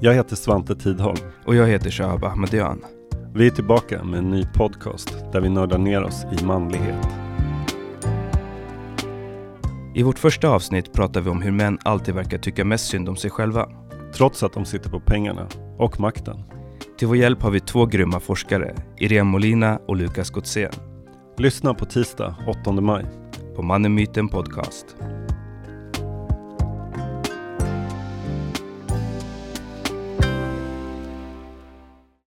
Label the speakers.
Speaker 1: Jag heter Svante Tidholm.
Speaker 2: Och jag heter Shahab Ahmedian.
Speaker 1: Vi är tillbaka med en ny podcast där vi nördar ner oss i manlighet.
Speaker 2: I vårt första avsnitt pratar vi om hur män alltid verkar tycka mest synd om sig själva.
Speaker 1: Trots att de sitter på pengarna och makten.
Speaker 2: Till vår hjälp har vi två grymma forskare, Irene Molina och Lukas Gottsén,
Speaker 1: Lyssna på tisdag 8 maj.
Speaker 2: på Mannen Myten Podcast.